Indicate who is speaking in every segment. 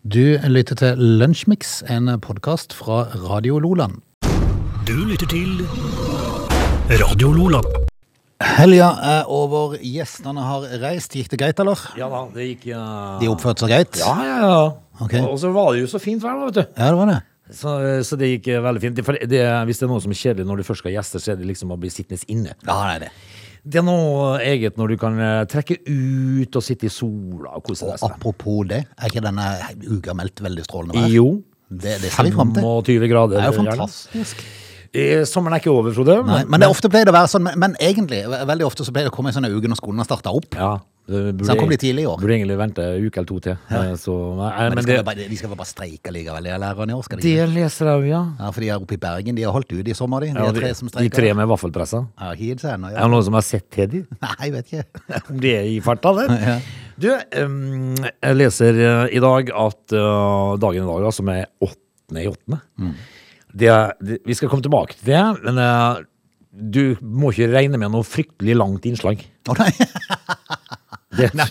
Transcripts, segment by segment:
Speaker 1: Du lytter til Lunsjmix, en podkast fra Radio Loland.
Speaker 2: Du lytter til Radio Lola.
Speaker 1: Helga er over, gjestene har reist. Gikk det greit, eller?
Speaker 3: Ja da, det gikk ja.
Speaker 1: De oppførte seg greit?
Speaker 3: Ja, ja, ja.
Speaker 1: Ok.
Speaker 3: Og så var det jo så fint vær, da, vet du.
Speaker 1: Ja, det var det.
Speaker 3: Så, så det gikk eh, veldig fint. For det, hvis det er noe som er kjedelig når du først skal ha gjester, så er det liksom å bli sittende inne.
Speaker 1: Ja, det er det.
Speaker 3: Det er noe eget når du kan eh, trekke ut og sitte i sola og kose deg.
Speaker 1: Og apropos det, er ikke denne uka meldt veldig strålende
Speaker 3: sånn.
Speaker 1: vær?
Speaker 3: Jo.
Speaker 1: Det, det ser vi fram til.
Speaker 3: 25 grader.
Speaker 1: Det er jo
Speaker 3: gjerne.
Speaker 1: fantastisk.
Speaker 3: Eh, Sommeren er ikke over, Frode.
Speaker 1: Nei, men det ofte pleier det å være sånn, men, men egentlig, ve- veldig ofte så pleier det å komme en sånn uke når skolen har starta opp.
Speaker 3: Ja. det Burde,
Speaker 1: Så han kom litt tidlig i år.
Speaker 3: Burde egentlig vente en uke eller to til. eh, Så, nei,
Speaker 1: Men,
Speaker 3: men
Speaker 1: de, skal
Speaker 3: det,
Speaker 1: vel bare, de skal vel bare streike likevel, de lærerne i år? Skal de?
Speaker 3: det
Speaker 1: ikke?
Speaker 3: leser jeg jo, ja.
Speaker 1: Ja, for de er oppe i Bergen, de har holdt ut i sommer, de. De
Speaker 3: Ja,
Speaker 1: er
Speaker 3: de,
Speaker 1: tre som
Speaker 3: de
Speaker 1: streiker.
Speaker 3: tre med vaffelpressa.
Speaker 1: Ja, hit seg ennå,
Speaker 3: Er
Speaker 1: ja.
Speaker 3: det noen som har sett til de?
Speaker 1: Nei, jeg vet ikke.
Speaker 3: om det er i farta der.
Speaker 1: Ja.
Speaker 3: Du, em, jeg leser eh, i dag at eh, dagen i dag, da, som er åttende i åttende
Speaker 1: Mm.
Speaker 3: det, er- det, Vi skal komme tilbake til det, men eh, du må ikke regne med noe fryktelig langt innslag.
Speaker 1: Å nei.
Speaker 3: Det,
Speaker 1: Nei,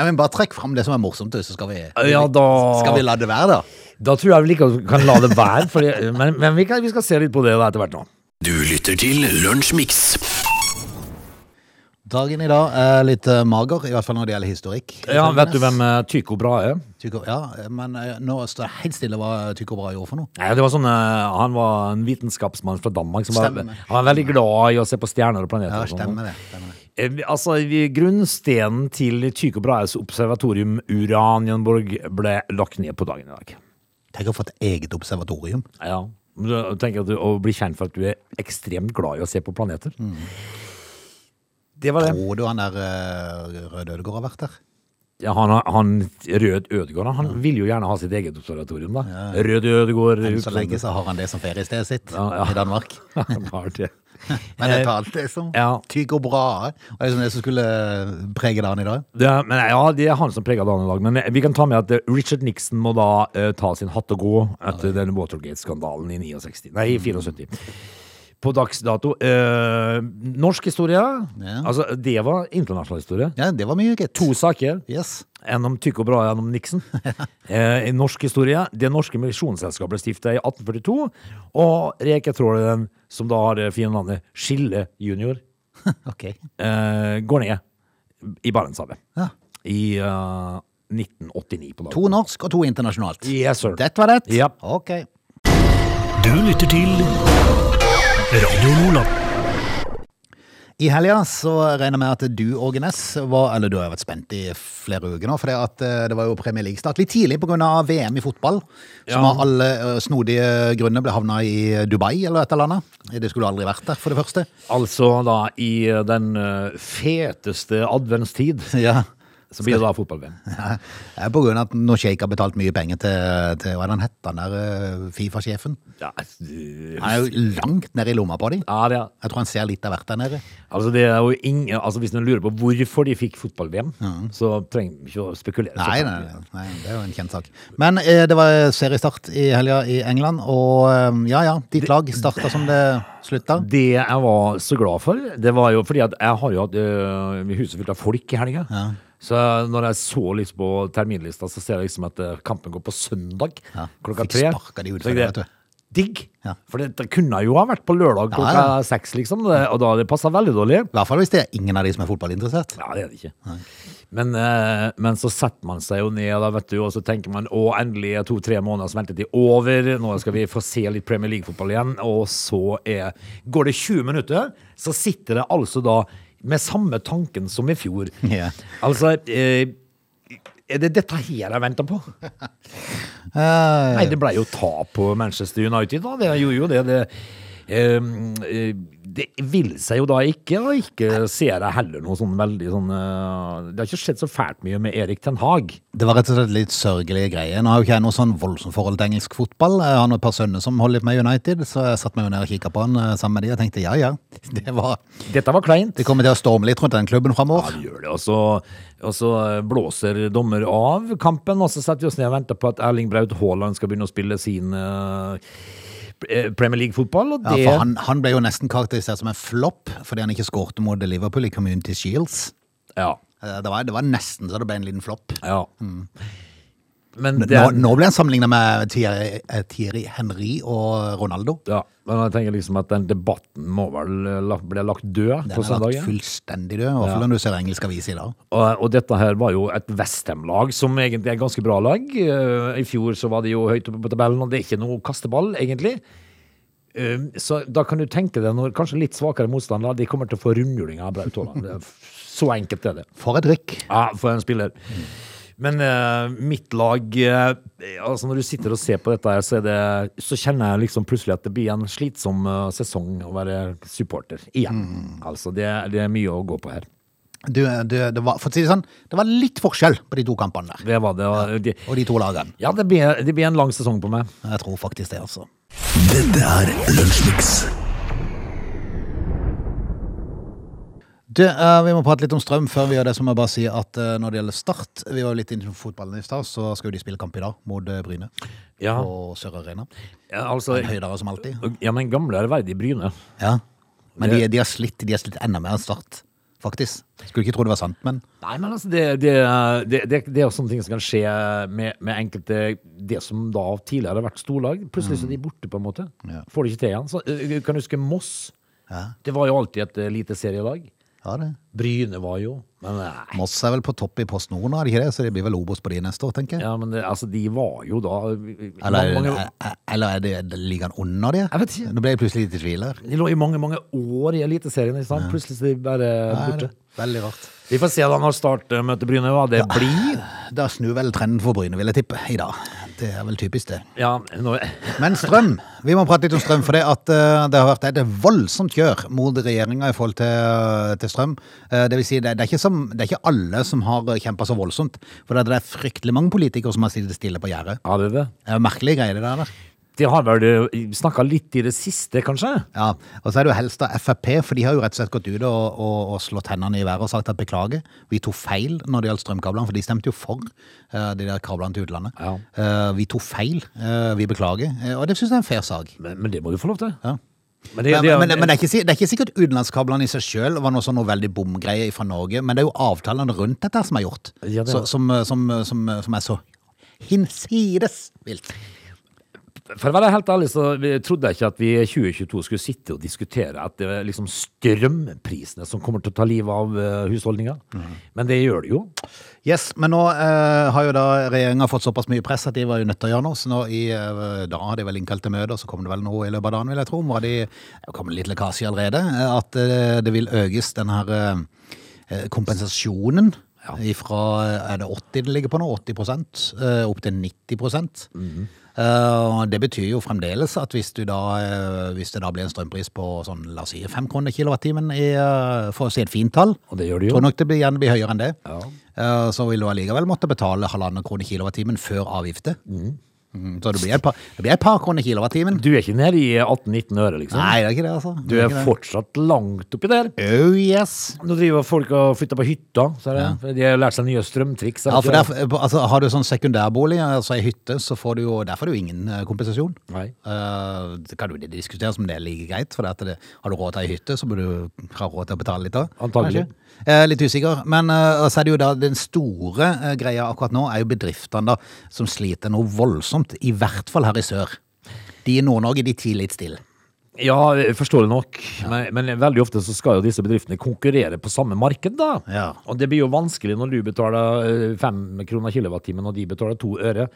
Speaker 1: men bare trekk fram det som er morsomt, du, så skal vi,
Speaker 3: Ja, da-
Speaker 1: skal vi la det være, da.
Speaker 3: da tror jeg vi like godt kan la det være, for, det- men, men vi, kan, vi skal se litt på det da etter hvert nå.
Speaker 2: Du lytter til Lunsjmix.
Speaker 1: Dagen i dag er litt eh, mager, i hvert fall når det gjelder historikk.
Speaker 3: Ja, vet du hvem eh, Tycho Brahe er?
Speaker 1: Tycho, ja, eh, men eh, nå står det helt stille hva Tycho Brahe gjorde for noe.
Speaker 3: Nei, det var sånn, eh, Han var en vitenskapsmann fra Danmark. Som var,
Speaker 1: Stemmer.
Speaker 3: han var veldig glad i å se på stjerner og
Speaker 1: Ja,
Speaker 3: planeter. og sånn.
Speaker 1: stemmer det. Stemmer det.
Speaker 3: Eh, Altså, vi- Grunnstenen til Tycho Brahes observatorium Uranienborg ble lagt ned på dagen i dag.
Speaker 1: Tenk å få et eget observatorium.
Speaker 3: Ja. Men Du tenker at du, Å bli kjent for at du er ekstremt glad i å se på planeter. Mm. Det var det.
Speaker 1: Tror du han der eh, Røde Ødegård har vært der?
Speaker 3: Ja, han, har- han Rød Ødegård han vil jo gjerne ha sitt eget observatorium, da. Rød Ødegård
Speaker 1: Enn så lenge så har han det som feriestedet sitt
Speaker 3: Ja, ja.
Speaker 1: i Danmark.
Speaker 3: Han har det.
Speaker 1: Men jeg tar alt det som
Speaker 3: ja.
Speaker 1: Tycho Brahe. Og det er som det som skulle eh, prege dagen i dag.
Speaker 3: Det, er- men, ja, det er han som preger dagen i dag. Men vi kan ta med at eh, Richard Nixon må da eh, ta sin hatt og gå etter denne Watergate-skandalen i 69, nei, i 74. På dags dato eh, Norsk historie.
Speaker 1: Ja.
Speaker 3: Altså, det var internasjonal historie.
Speaker 1: Ja, det var mye, gitt.
Speaker 3: To saker.
Speaker 1: Yes.
Speaker 3: En om Tycho Brahe, en om Nixon. eh, i norsk historie. Det norske misjonsselskapet ble stifta i 1842. Og reketråleren, som da har det fine navnet Skille junior,
Speaker 1: Ok.
Speaker 3: eh, går ned i Barentshavet
Speaker 1: Ja.
Speaker 3: i eh, 1989 på dagen.
Speaker 1: To norsk og to internasjonalt.
Speaker 3: Yes, sir.
Speaker 1: Det var det?
Speaker 3: Ja.
Speaker 1: Ok.
Speaker 2: Du lytter til Radio Lola.
Speaker 1: I helga så regner jeg med at du, Åge Næss, var Eller du har jo vært spent i flere uker nå, for det, at eh, det var jo Premier League-start litt tidlig pga. VM i fotball, som
Speaker 3: Ja.
Speaker 1: av alle eh, snodige grunner ble havna i eh, Dubai eller et eller annet. Det skulle aldri vært der, for det første.
Speaker 3: Altså da i eh, den eh, feteste adventstid,
Speaker 1: Ja.
Speaker 3: så blir det da fotball-VM.
Speaker 1: Det er på grunn av at når Sheikh har betalt mye penger til, til hva er det han het, han der eh, Fifa-sjefen?
Speaker 3: Ja, eh,
Speaker 1: Han er jo langt nede i lomma på dem.
Speaker 3: ja, det er.
Speaker 1: Jeg tror han ser litt av hvert der nede.
Speaker 3: Altså, det er jo ingen, altså hvis man lurer på hvorfor de fikk fotball-VM, så trenger vi ikke å spekulere.
Speaker 1: Nei, nei, nei, nei, det er jo en kjent sak. Men eh, det var seriestart i helga i England, og eh, ja ja, ditt lag starta som det slutta.
Speaker 3: Det jeg var så glad for, det var jo fordi at jeg har jo hatt øh, huset fullt av folk i helga. Så når jeg så litt på terminlista, så ser jeg liksom at øh, kampen går på søndag
Speaker 1: Ja,
Speaker 3: klokka
Speaker 1: fikk
Speaker 3: tre.
Speaker 1: sparka de ut
Speaker 3: Så
Speaker 1: for
Speaker 3: jeg
Speaker 1: det, vet du.
Speaker 3: Digg!
Speaker 1: Ja.
Speaker 3: For det, det kunne jo ha vært på lørdag
Speaker 1: Ja,
Speaker 3: klokka
Speaker 1: ja.
Speaker 3: seks, liksom. Det, og da hadde det passa veldig dårlig.
Speaker 1: I hvert fall hvis det er ingen av de som er fotballinteressert.
Speaker 3: Ja, det er det ikke. Men, eh, men så setter man seg jo ned, da, vet du, og så tenker man å, endelig er to-tre måneders ventetid over. Nå skal vi få se litt Premier League-fotball igjen. Og så er, går det 20 minutter, så sitter det altså da med samme tanken som i fjor.
Speaker 1: Ja.
Speaker 3: Altså eh, Er det dette her jeg venter på?
Speaker 1: Eh,
Speaker 3: Nei, det ble jo tap på Manchester United, da. Det gjorde jo det. det ehm, eh, det vil seg jo da ikke, og ikke ser jeg heller noe sånn veldig sånn eh, Det har ikke skjedd så fælt mye med Erik Ten Hag.
Speaker 1: det var rett og slett litt sørgelige greier. Nå har jo ikke jeg noe sånn voldsomt forhold til engelsk fotball. Jeg har nå et par sønner som holder litt med United, så jeg satte meg jo ned og kikka på han eh, sammen med de og tenkte ja ja, det, var,
Speaker 3: Dette var kleint.
Speaker 1: det kommer til å storme litt rundt den klubben
Speaker 3: Ja,
Speaker 1: framover.
Speaker 3: det gjør det. Og så, og så eh, blåser dommer av kampen, og så setter vi oss ned og venter på at Erling Braut Haaland skal begynne å spille sin eh, eh, Premier League-fotball, og
Speaker 1: Ja,
Speaker 3: det
Speaker 1: for han, han ble jo nesten karakterisert som en flopp fordi han ikke skårte mot Liverpool i Community Shields.
Speaker 3: ja. Mm.
Speaker 1: Eh, Det var, det var nesten så det ble en liten flopp.
Speaker 3: Ja. men det
Speaker 1: Nå,
Speaker 3: er,
Speaker 1: nå ble han sammenlignet med Thierry, eh, Thierry Henry og Ronaldo.
Speaker 3: ja, men jeg tenker liksom at den debatten må vel eh, la- bli lagt død
Speaker 1: Den
Speaker 3: på
Speaker 1: har vært
Speaker 3: søndagen.
Speaker 1: fullstendig død, i hvert fall når du ser engelsk avis i dag.
Speaker 3: Og, og dette her var jo et Westham-lag som egentlig er et ganske bra lag. Eh, I fjor så var de jo høyt oppe på tabellen, og det er ikke noe kasteball, egentlig. Eh, Så da kan du tenke deg når kanskje litt svakere motstander De kommer til å få rundjuling av Braut Haaland. Det er f- Så enkelt er det.
Speaker 1: For et rykk.
Speaker 3: Ja, for en spiller. Men eh, mitt lag eh, altså Når du sitter og ser på dette, her, så, er det, så kjenner jeg liksom plutselig at det blir en slitsom eh, sesong å være supporter igjen. Altså, det, det er mye å gå på her.
Speaker 1: Du, du, det, var, for å si det, sånn, det var litt forskjell på de to kampene der,
Speaker 3: Det var det. og de-
Speaker 1: og de to lagene.
Speaker 3: Ja, det blir, det blir en lang sesong på meg.
Speaker 1: Jeg tror faktisk det, altså.
Speaker 2: Dette er Lunsjmix.
Speaker 1: Du, eh, vi må prate litt om strøm før vi gjør det, så må jeg bare si at eh, når det gjelder Start Vi var jo litt inne på fotballen i stad, så skal jo de spille kamp i dag mot eh, Bryne
Speaker 3: Ja.
Speaker 1: på Sør Arena.
Speaker 3: Ja, altså,
Speaker 1: Høydere som alltid.
Speaker 3: ja men gamle ærverdige Bryne.
Speaker 1: Ja. Men de, de, har slitt, de har slitt enda mer enn Start, faktisk. Skulle ikke tro det var sant, men
Speaker 3: Nei, men altså, det, det, det, det, det er jo sånne ting som kan skje med, med enkelte Det som da tidligere har vært storlag, plutselig så er de borte, på en måte.
Speaker 1: Mm. Ja.
Speaker 3: Får de ikke til igjen. Så, ø, ø, kan du huske Moss?
Speaker 1: Ja.
Speaker 3: Det var jo alltid et eh, lite serielag.
Speaker 1: ja, det.
Speaker 3: Bryne var jo Men eh, nei.
Speaker 1: Moss er vel på topp i Post Nord nå, er det ikke det? Så det blir vel Obos på de neste år, tenker jeg.
Speaker 3: Ja, men det, altså, de var jo da
Speaker 1: Eller,
Speaker 3: mange,
Speaker 1: er- er- eller er det er det ligaen under de?
Speaker 3: Jeg vet ikke.
Speaker 1: Nå ble jeg plutselig litt i tvil her.
Speaker 3: De lå i mange, mange år i Eliteserien, ikke sant? Plutselig så er de bare
Speaker 1: Nei,
Speaker 3: borte.
Speaker 1: det- Veldig rart.
Speaker 3: Vi får se da når Start ø, møter Bryne, hva det blir.
Speaker 1: Da snur vel trenden for Bryne, vil jeg tippe, i dag. Det er vel typisk det.
Speaker 3: Ja, nå,
Speaker 1: Men strøm. Vi må prate litt om strøm, for det, at, eh, det har vært et voldsomt kjør mot regjeringa i forhold til, til strøm. Eh, Det vil si, det, det, er ikke som, det er ikke alle som har kjempa så voldsomt. For det er- det er fryktelig mange politikere som har sittet stille på gjerdet.
Speaker 3: Ja, det er det.
Speaker 1: Det er jo merkelige greier, det der. der.
Speaker 3: De har vel snakka litt i det siste, kanskje?
Speaker 1: Ja, og så er det jo helst av Frp, for de har jo rett og slett gått ut og, og, og slått hendene i været og sagt at beklager, vi tok feil når det gjaldt strømkablene, for de stemte jo for eh, de der kablene til utlandet.
Speaker 3: Ja.
Speaker 1: Eh, vi tok feil, eh, vi beklager, Eh, og det synes jeg er en fair sak.
Speaker 3: Men, men det må du få lov til.
Speaker 1: Ja.
Speaker 3: Men
Speaker 1: Men,
Speaker 3: det-
Speaker 1: men, men det, er ikke, si- det er ikke sikkert utenlandskablene i seg selv var noe sånn noe veldig bomgreie fra Norge, men det er jo avtalene rundt dette som er gjort,
Speaker 3: Ja, det er-
Speaker 1: så, som, eh, som, som, som er så hinsides vilt.
Speaker 3: For å være helt ærlig, så vi trodde jeg ikke at vi i 2022 skulle sitte og diskutere at det er liksom strømprisene som kommer til å ta livet av eh, husholdninger.
Speaker 1: Mhm.
Speaker 3: Men det gjør det jo.
Speaker 1: Yes, men nå eh, har jo da regjeringa fått såpass mye press at de var jo nødt til å gjøre noe. Så nå i, eh, da har de vel innkalt til møte, og så kom det vel noe i løpet av dagen, vil jeg tro. Var de, det kom litt lekkasje allerede. eh, At eh, det vil økes den her eh, kompensasjonen
Speaker 3: Ja.
Speaker 1: fra er det 80 det ligger på nå, 80 eh, opp til 90
Speaker 3: Mhm.
Speaker 1: Eh, og Det betyr jo fremdeles at hvis, du da, eh, hvis det da blir en strømpris på sånn, la oss si 5 kroner kilowattimen, i, eh, for å si et fint tall,
Speaker 3: Og det gjør det jo.
Speaker 1: tror nok det blir, gjerne blir høyere enn det.
Speaker 3: Ja.
Speaker 1: Eh, Så vil du allikevel måtte betale halvannen krone kilowattimen før avgifter. Mm, Så det blir et par, det blir et par kroner kilowattimen.
Speaker 3: Du er ikke nede i 18-19 øre, liksom.
Speaker 1: Nei, det er ikke det, altså.
Speaker 3: Du er fortsatt langt oppi der.
Speaker 1: Oh yes!
Speaker 3: Nå driver folk og flytter på hytta. Så er det, for De har lært seg nye strømtriks. er det
Speaker 1: Ja, for
Speaker 3: ikke det?
Speaker 1: der, altså, har du sånn sekundærbolig, altså ei hytte, så får du jo, der får du ingen eh, kompensasjon.
Speaker 3: Nei.
Speaker 1: Eh, det kan jo diskuteres om det er like greit, for det at det, har du råd til ei hytte, så bør du ha råd til å betale litt av.
Speaker 3: Antagelig.
Speaker 1: kanskje. Eh, litt usikker. Men eh, så er det jo da den store eh, greia akkurat nå, er jo bedriftene da, som sliter noe voldsomt, i hvert fall her i sør. De i Nord-Norge, de tier litt stille.
Speaker 3: Ja, forståelig nok. Men, men veldig ofte så skal jo disse bedriftene konkurrere på samme marked, da.
Speaker 1: Ja.
Speaker 3: Og det blir jo vanskelig når du betaler eh, fem kroner kilowattimen og de betaler to øre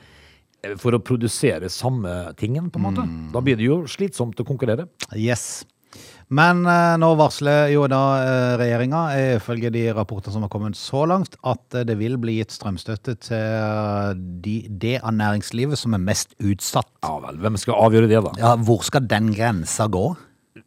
Speaker 3: eh, for å produsere samme tingen, på en måte.
Speaker 1: Mm.
Speaker 3: Da blir det jo slitsomt å konkurrere.
Speaker 1: Yes. Men eh, nå varsler jo da eh, regjeringa, eh, ifølge de rapportene som har kommet så langt, at eh, det vil bli gitt strømstøtte til eh, de, det av næringslivet som er mest utsatt.
Speaker 3: Ja vel, hvem skal avgjøre det, da?
Speaker 1: Ja, hvor skal den grensa gå?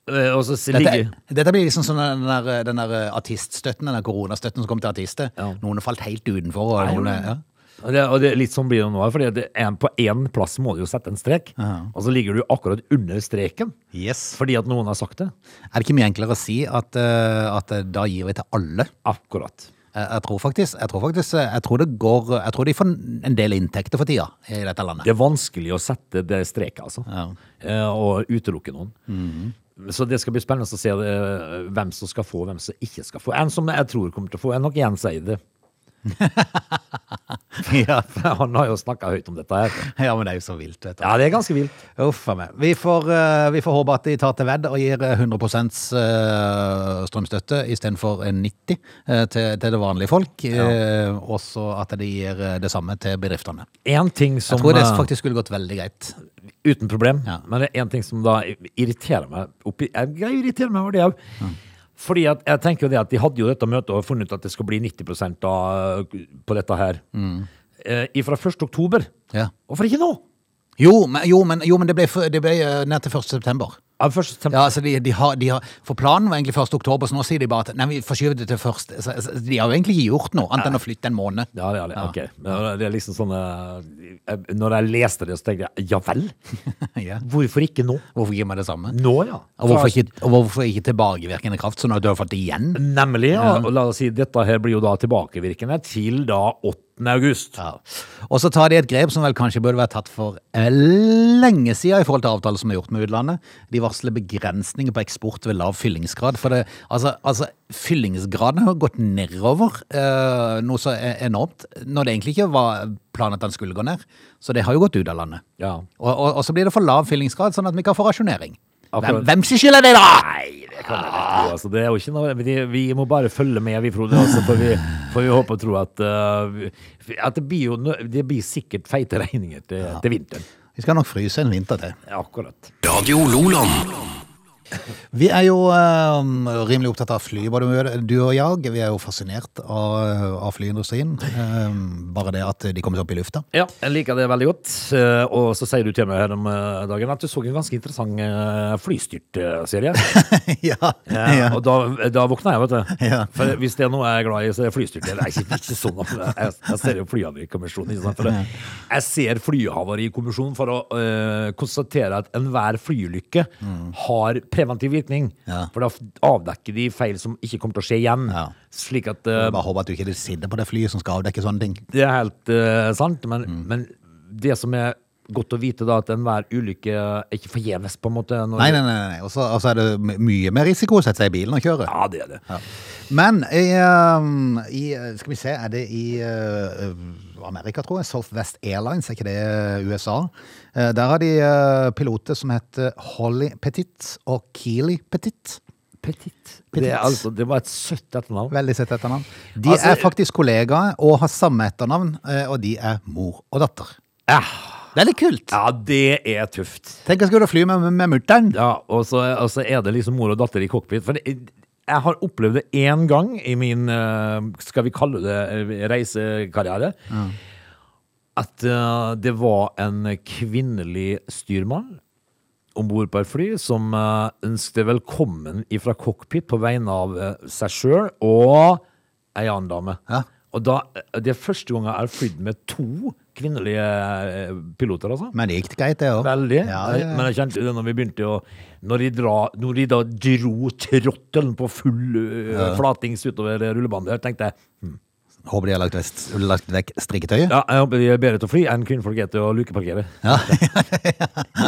Speaker 3: Eh, Og så s- ligger
Speaker 1: Dette, dette blir liksom sånn den der, den der eh, artiststøtten, den der koronastøtten som kom til artister.
Speaker 3: Ja.
Speaker 1: Noen har falt helt utenfor. Og noen, er- ja.
Speaker 3: Og det, og det er litt sånn blir det nå, for på én plass må du jo sette en strek.
Speaker 1: Ja.
Speaker 3: Og så ligger du akkurat under streken
Speaker 1: Yes.
Speaker 3: fordi at noen har sagt det.
Speaker 1: Er det ikke mye enklere å si at, eh, at eh, da gir vi til alle?
Speaker 3: Akkurat.
Speaker 1: Jeg, jeg tror faktisk, jeg tror faktisk eh, jeg tror det går, jeg tror de får en del inntekter for tida i dette landet.
Speaker 3: Det er vanskelig å sette det streket, altså.
Speaker 1: Ja.
Speaker 3: Eh, og utelukke noen.
Speaker 1: Mhm.
Speaker 3: Så det skal bli spennende å se eh, hvem som skal få, hvem som ikke skal få. En som jeg tror kommer til å få, er nok Jens Eide.
Speaker 1: ja,
Speaker 3: Han har jo snakka høyt om dette her.
Speaker 1: ja, men det er jo så vilt, vet du.
Speaker 3: Ja, det er ganske vilt.
Speaker 1: Uff a meg. Vi får, eh, vi får håpe at de tar til vedd og gir eh, 100 eh, strømstøtte istedenfor 90 eh, til, til det vanlige folk. eh, Og så at de gir eh, det samme til bedriftene.
Speaker 3: Én ting som
Speaker 1: Jeg tror det
Speaker 3: eh,
Speaker 1: faktisk skulle gått veldig greit.
Speaker 3: Uten problem.
Speaker 1: Ja.
Speaker 3: Men det er én ting som da irriterer meg. Oppi, jeg jeg irriterer meg over det òg. Fordi at jeg tenker jo det at De hadde jo dette møtet og funnet ut at det skal bli 90 da, på dette her.
Speaker 1: Mm.
Speaker 3: Eh, fra 1. oktober.
Speaker 1: Ja.
Speaker 3: Hvorfor ikke nå?
Speaker 1: Jo, men, jo, men, jo, men det ble, f- det ble eh, ned til 1. september.
Speaker 3: Ja, først, september.
Speaker 1: Ja, altså de, de har, de har, for planen var egentlig 1. oktober, så nå sier de bare at nei, vi forskyver det til først. Så, så, de har jo egentlig ikke gjort noe, annet enn å flytte en måned.
Speaker 3: Ja, det er det. Ok. Men det er liksom sånn eh, jeg- Når jeg leste det, så tenkte jeg ja vel?
Speaker 1: Ja.
Speaker 3: Hvorfor ikke nå?
Speaker 1: Hvorfor gir man det samme?
Speaker 3: Nå, ja.
Speaker 1: Og hvorfor ikke, og hvorfor ikke tilbakevirkende kraft, sånn at du har fått det igjen?
Speaker 3: Nemlig. Ja. Og la oss si dette her blir jo da tilbakevirkende til da 8. august.
Speaker 1: Ja. Og så tar de et grep som vel kanskje burde vært tatt for eh, lenge siden i forhold til avtaler som er gjort med utlandet. De varsler begrensninger på eksport ved lav fyllingsgrad. For det, altså, altså, fyllingsgraden har gått nedover eh, noe så e- enormt, når det egentlig ikke var planen at den skulle gå ned. Så det har jo gått ut av landet.
Speaker 3: Ja.
Speaker 1: Og, og, og så blir det for lav fyllingsgrad, sånn at vi kan få rasjonering. Hvem,
Speaker 3: Akkurat.
Speaker 1: hvem sin skyld er det, da? Nei,
Speaker 3: Det kan jeg ikke tro, altså, det er jo ikke noe, vi, vi må bare følge med, vi, Frode. Altså, for, vi, for vi håper og tror at, eh, at det, blir jo, nø- det blir sikkert feite regninger til, til vinteren.
Speaker 1: Vi skal nok fryse en vinter til.
Speaker 3: Akkurat.
Speaker 2: Radio Loland.
Speaker 1: Vi er jo eh, rimelig opptatt av fly, både du- du og jeg. Vi er jo fascinert av, av flyindustrien. Eh, bare det at de kommer seg opp i lufta.
Speaker 3: Ja, jeg liker det veldig godt. Eh, Og så sier du til meg her om eh, dagen at du så en ganske interessant eh, flystyrtserie.
Speaker 1: ja,
Speaker 3: Ja,
Speaker 1: ja.
Speaker 3: og da, da våkna jeg, vet du.
Speaker 1: Ja.
Speaker 3: For hvis det er noe jeg er glad i, så er det flystyrt. Eller ikke, ikke sånn, at jeg, jeg ser jo Flyhavarikommisjonen. ikke sant? For det- Jeg ser Flyhavarikommisjonen for å øh, konstatere at enhver flyulykke har preventiv virkning.
Speaker 1: Mm. Ja.
Speaker 3: For da f- avdekker de feil som ikke kommer til å skje igjen.
Speaker 1: Ja.
Speaker 3: Slik at øh,
Speaker 1: Bare håper at du ikke sitter på det flyet som skal avdekke sånne ting.
Speaker 3: det er helt eh, sant, men,
Speaker 1: Mm.
Speaker 3: men det som er godt å vite, da, at enhver ulykke er ikke forgjeves, på en måte. når-
Speaker 1: Nei, nei, nei. nei. Og så og så er det my- mye mer risiko å sette seg i bilen og kjøre.
Speaker 3: Ja, det er det.
Speaker 1: Men i, eh, i Skal vi se, er det i eh, Amerika, tror jeg? Southwest Airlines, er ikke det uh, USA? Eh, Der har de eh, piloter som heter Holly Petit og Keely Petit.
Speaker 3: Petit. Det,
Speaker 1: Petit.
Speaker 3: er altså, det var et søtt etternavn.
Speaker 1: Veldig søtt etternavn. De
Speaker 3: Altså-
Speaker 1: er faktisk kollegaer og har samme etternavn, eh, og de er mor og datter.
Speaker 3: Ja.
Speaker 1: Det er litt kult.
Speaker 3: Ja, det er tøft.
Speaker 1: Tenk å skulle fly med, med mutter'n.
Speaker 3: Ja, og så, og så er det liksom mor og datter i cockpit. For det, jeg har opplevd det én gang i min, eh, skal vi kalle det, eh, reisekarriere. At eh, det var en kvinnelig styrmann om bord på et fly som eh, ønsket velkommen ifra cockpit på vegne av eh, seg sjøl og ei annen dame.
Speaker 1: Ja.
Speaker 3: Og da, det er første gang jeg har flydd med to kvinnelige eh, piloter, altså.
Speaker 1: Men det gikk greit, det òg.
Speaker 3: Veldig.
Speaker 1: Ja,
Speaker 3: Jeg- Men jeg kjente jo det når vi begynte å Når de, dra, når de da dro trottelen på full ø, flatings utover rullebandet, her, tenkte jeg hm,
Speaker 1: Håper de har lagt, vest, lagt vekk strikketøyet.
Speaker 3: ja, jeg håper de er bedre til å fly enn kvinnfolk er til å lukeparkere.
Speaker 1: Ja.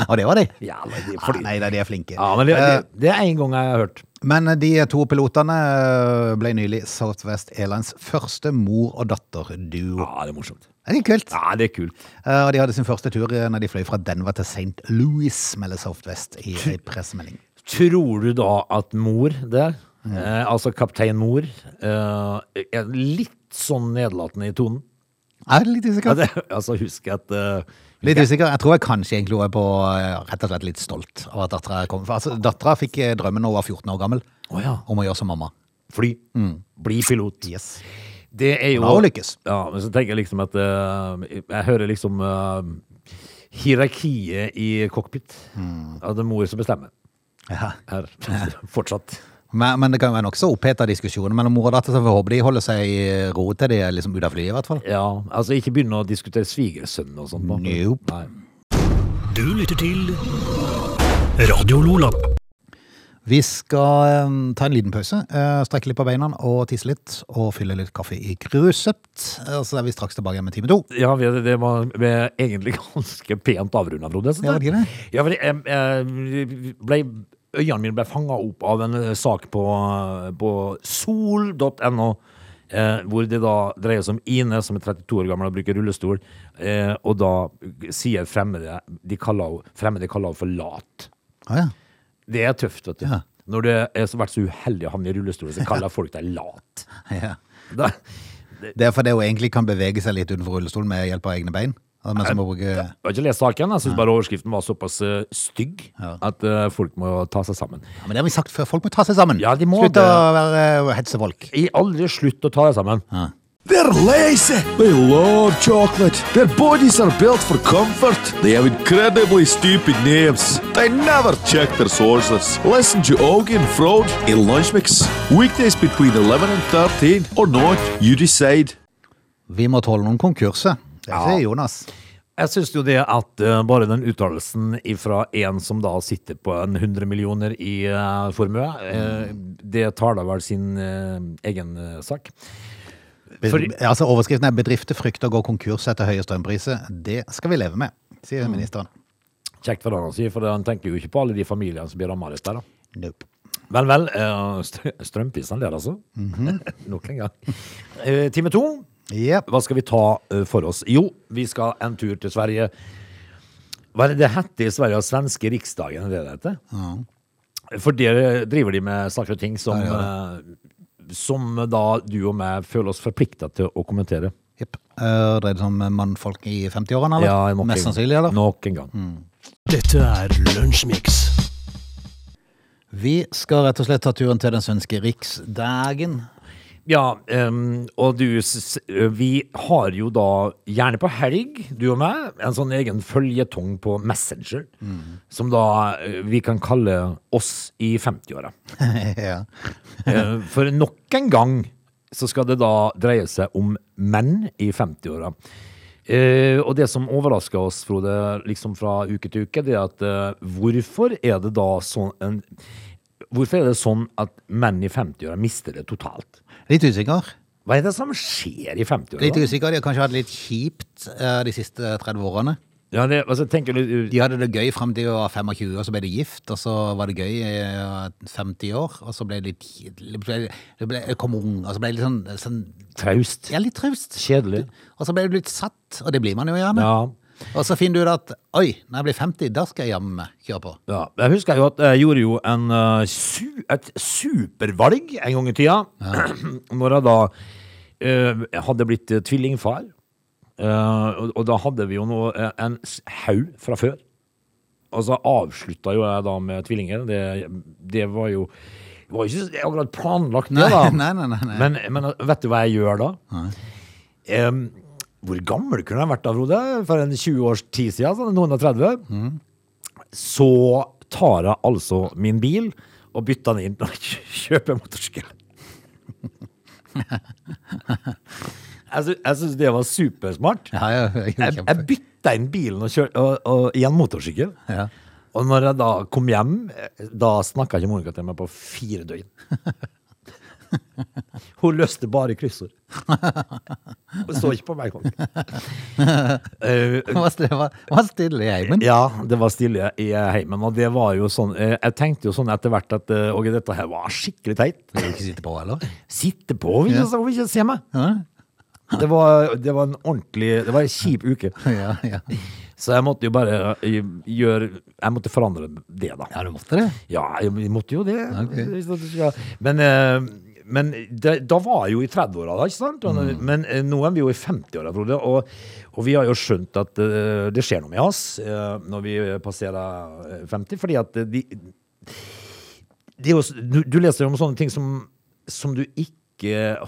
Speaker 1: og det var de.
Speaker 3: Ja, men de,
Speaker 1: Ah,
Speaker 3: fordi,
Speaker 1: nei da, de er flinke.
Speaker 3: ja, men det,
Speaker 1: Eh,
Speaker 3: det, det er én gang jeg har hørt.
Speaker 1: Men de to pilotene eh, ble nylig Southwest Airlines første mor- og datterduo.
Speaker 3: Ja, det er morsomt.
Speaker 1: Det er litt kult.
Speaker 3: Ja, det er kult.
Speaker 1: Eh, Og de hadde sin første tur eh, når de fløy fra Denver til St. Louis, melder Southwest i en pressemelding.
Speaker 3: Tror du da at mor der, eh, altså kaptein mor, eh, er litt sånn nedlatende i tonen?
Speaker 1: Jeg er litt
Speaker 3: Ja,
Speaker 1: usikker.
Speaker 3: det, altså, husk at eh,
Speaker 1: Litt usikker. Jeg tror jeg kanskje egentlig hun er på eh, rett og slett litt stolt over at dattera kom. For altså, dattera fikk eh, drømmen da hun var 14 år gammel,
Speaker 3: Å ja.
Speaker 1: om å gjøre som mamma.
Speaker 3: Fly.
Speaker 1: Mm.
Speaker 3: Bli pilot.
Speaker 1: Yes.
Speaker 3: Det er jo
Speaker 1: Hun har jo lykkes.
Speaker 3: Ja, men så tenker jeg liksom at eh, Jeg hører liksom eh, hierarkiet i cockpit.
Speaker 1: Mm.
Speaker 3: At det er mor som bestemmer
Speaker 1: Ja.
Speaker 3: her. Fortsatt.
Speaker 1: Men, men det kan jo være nokså oppheta diskusjoner mellom mor og datter, så vi håper de holder seg i ro til de er liksom ute av flyet, i hvert fall.
Speaker 3: Ja, altså ikke begynne å diskutere svigersønn og sånt. nå.
Speaker 1: Nope.
Speaker 3: Nei.
Speaker 2: Du lytter til Radio Lola.
Speaker 1: Vi skal eh, ta en liten pause, eh, strekke litt på beina og tisse litt, og fylle litt kaffe i gruset. Eh, Så er vi straks tilbake igjen med time to.
Speaker 3: Ja, vi, det var vi er egentlig ganske pent avrunda, Frode. synes
Speaker 1: Ja, var det ikke det?
Speaker 3: Ja, fordi jeg, jeg ble, eh, øynene mine ble fanga opp av en eh, sak på, på sol.no Eh, hvor det da dreier seg om Ine, som er 32 år gammel og bruker rullestol. Eh, og da sier fremmede de kaller henne, Fremmede kaller henne for lat.
Speaker 1: Ah, ja.
Speaker 3: Det er tøft, vet du.
Speaker 1: Ja.
Speaker 3: Når du er så vært så uheldig å havne i rullestol, så kaller folk deg lat.
Speaker 1: Ja.
Speaker 3: Da,
Speaker 1: Det er fordi hun egentlig kan bevege seg litt utenfor rullestolen med hjelp av egne bein. Altså, Mens hun må bruke
Speaker 3: Jeg har ikke lest saken. Jeg syns bare overskriften var såpass eh, stygg
Speaker 1: Ja.
Speaker 3: at eh, folk må ta seg sammen.
Speaker 1: ja, Men det har vi sagt før, folk må ta seg sammen.
Speaker 3: Ja, de må
Speaker 1: Slutt
Speaker 3: det.
Speaker 1: å være eh, hetse folk.
Speaker 3: I aldri slutt å ta deg sammen.
Speaker 4: They're lazy. They love chocolate. Their bodies are built for comfort. They have incredibly stupid names. They never check their sources. Listen to Augie and Frode in Lunch Mix. Weekdays between 11 and 13 or not, you decide.
Speaker 1: Vi må tåle noen konkurser. Det sier Jonas.
Speaker 3: Jeg syns jo det at eh, bare den uttalelsen fra en som da sitter på en 100 millioner i eh, formue, eh, det tar da vel sin eh, egen eh, sak.
Speaker 1: Be-
Speaker 3: Fordi-
Speaker 1: altså, overskriften er 'Bedrifter frykter å gå konkurs etter høye strømpriser'. Det skal vi leve med, sier
Speaker 3: Mm.
Speaker 1: ministeren.
Speaker 3: Kjekt for han å si, for han tenker jo ikke på alle de familiene som blir ramma av dette. da.
Speaker 1: Nope.
Speaker 3: Vel, vel. eh, Strø Strømprisene der, altså. Nok en gang. Eh, Time to.
Speaker 1: Yep.
Speaker 3: Hva skal vi ta eh, for oss? Jo, vi skal en tur til Sverige. Hva er det det heter i Sverige? Svenske riksdagen, er det det heter? For der driver de med saker og ting som, eh, som da du og meg føler oss forplikta til å kommentere.
Speaker 1: Yep. Eh, Dreide seg om mannfolk i 50-årene, eller?
Speaker 3: Ja, nok en
Speaker 1: Mest
Speaker 3: gang.
Speaker 1: sannsynlig, eller?
Speaker 3: Nok en gang.
Speaker 2: Dette er Lunsjmix.
Speaker 1: Vi skal rett og slett ta turen til den svenske riksdagen.
Speaker 3: Ja, em, og du s- s- Vi har jo da, gjerne på helg, du og meg, en sånn egen føljetong på Messenger. Som da eh, vi kan kalle oss i 50-åra.
Speaker 1: ja.
Speaker 3: Eh, For nok en gang så skal det da dreie seg om menn i 50-åra. Eh, og det som overrasker oss, Frode, liksom fra uke til uke, det er at eh, hvorfor er det da sånn en, Hvorfor er det sånn at menn i 50-åra mister det totalt?
Speaker 1: Litt usikker.
Speaker 3: Hva er det som skjer i 50-åra?
Speaker 1: Litt
Speaker 3: da?
Speaker 1: usikker. De har kanskje hatt det litt kjipt eh, de siste 30 årene.
Speaker 3: Ja, det- altså, tenker du-
Speaker 1: De hadde det gøy frem til de var 25, og så ble de gift, og så var det gøy i 50 år, og så ble det litt det ble, det ble, det kom ung, og så ble det litt sånn, sånn
Speaker 3: Traust.
Speaker 1: ja, litt traust.
Speaker 3: Kjedelig.
Speaker 1: Og så ble du litt satt, og det blir man jo gjerne.
Speaker 3: Ja.
Speaker 1: Og så finner du ut at oi, når jeg blir 50, da skal jeg jammen meg kjøre på.
Speaker 3: Ja, jeg husker jo at jeg gjorde jo en, eh, su et supervalg en gang i tida. Når jeg da eh, hadde blitt eh, tvillingfar. Eh, og, og da hadde vi jo nå eh, en s- haug fra før. Og så avslutta jo jeg da med tvillinger. Det, det var jo det var jo ikke akkurat planlagt, det,
Speaker 1: Nei,
Speaker 3: da.
Speaker 1: nei, nei, nei, nei.
Speaker 3: Men, men eh, vet du hva jeg gjør da? Em, hvor gammel kunne jeg vært da, Frode? For en 20 års tid siden? Sånn, noen og 30? Så tar jeg altså min bil og bytter den inn og kjøper motorsykkel. jeg sy- jeg syns det var supersmart.
Speaker 1: Ja, ja, ja,
Speaker 3: Jeg, jeg
Speaker 1: kjempe.
Speaker 3: bytta inn bilen og kjør, og, og, i en motorsykkel.
Speaker 1: Ja.
Speaker 3: Og når jeg da kom hjem, eh, da snakka ikke Monica til meg på fire døgn. Hun løste bare kryssord. Hun så ikke på meg engang. Eh,
Speaker 1: Hva stille- hva- hva stille i heimen?
Speaker 3: ja, det var stille i eh, heimen, og det var jo sånn eh, Jeg tenkte jo sånn etter hvert at eh, Åge, dette her var skikkelig teit.
Speaker 1: Vil du ikke sitte på, eller?
Speaker 3: Sitte på, vil
Speaker 1: Ja.
Speaker 3: ikke, vil ikke se meg.
Speaker 1: Ja,
Speaker 3: Det var, det var en ordentlig Det var en kjip uke.
Speaker 1: ja. ja.
Speaker 3: Så jeg måtte jo bare eh, gjøre Jeg måtte forandre det, da.
Speaker 1: ja du måtte det.
Speaker 3: Ja, jeg vi måtte jo det.
Speaker 1: Ok.
Speaker 3: Hvis at du skal- Men, eh, men da, da var jeg jo i 30-åra, da, ikke sant? Og- Men eh, nå er vi jo i 50-åra, Frode. Og, og vi har jo skjønt at eh, det skjer noe med oss eh, når vi passerer eh, 50, fordi at eh, de, de er jo s- du, du leser jo om sånne ting som, som du ikke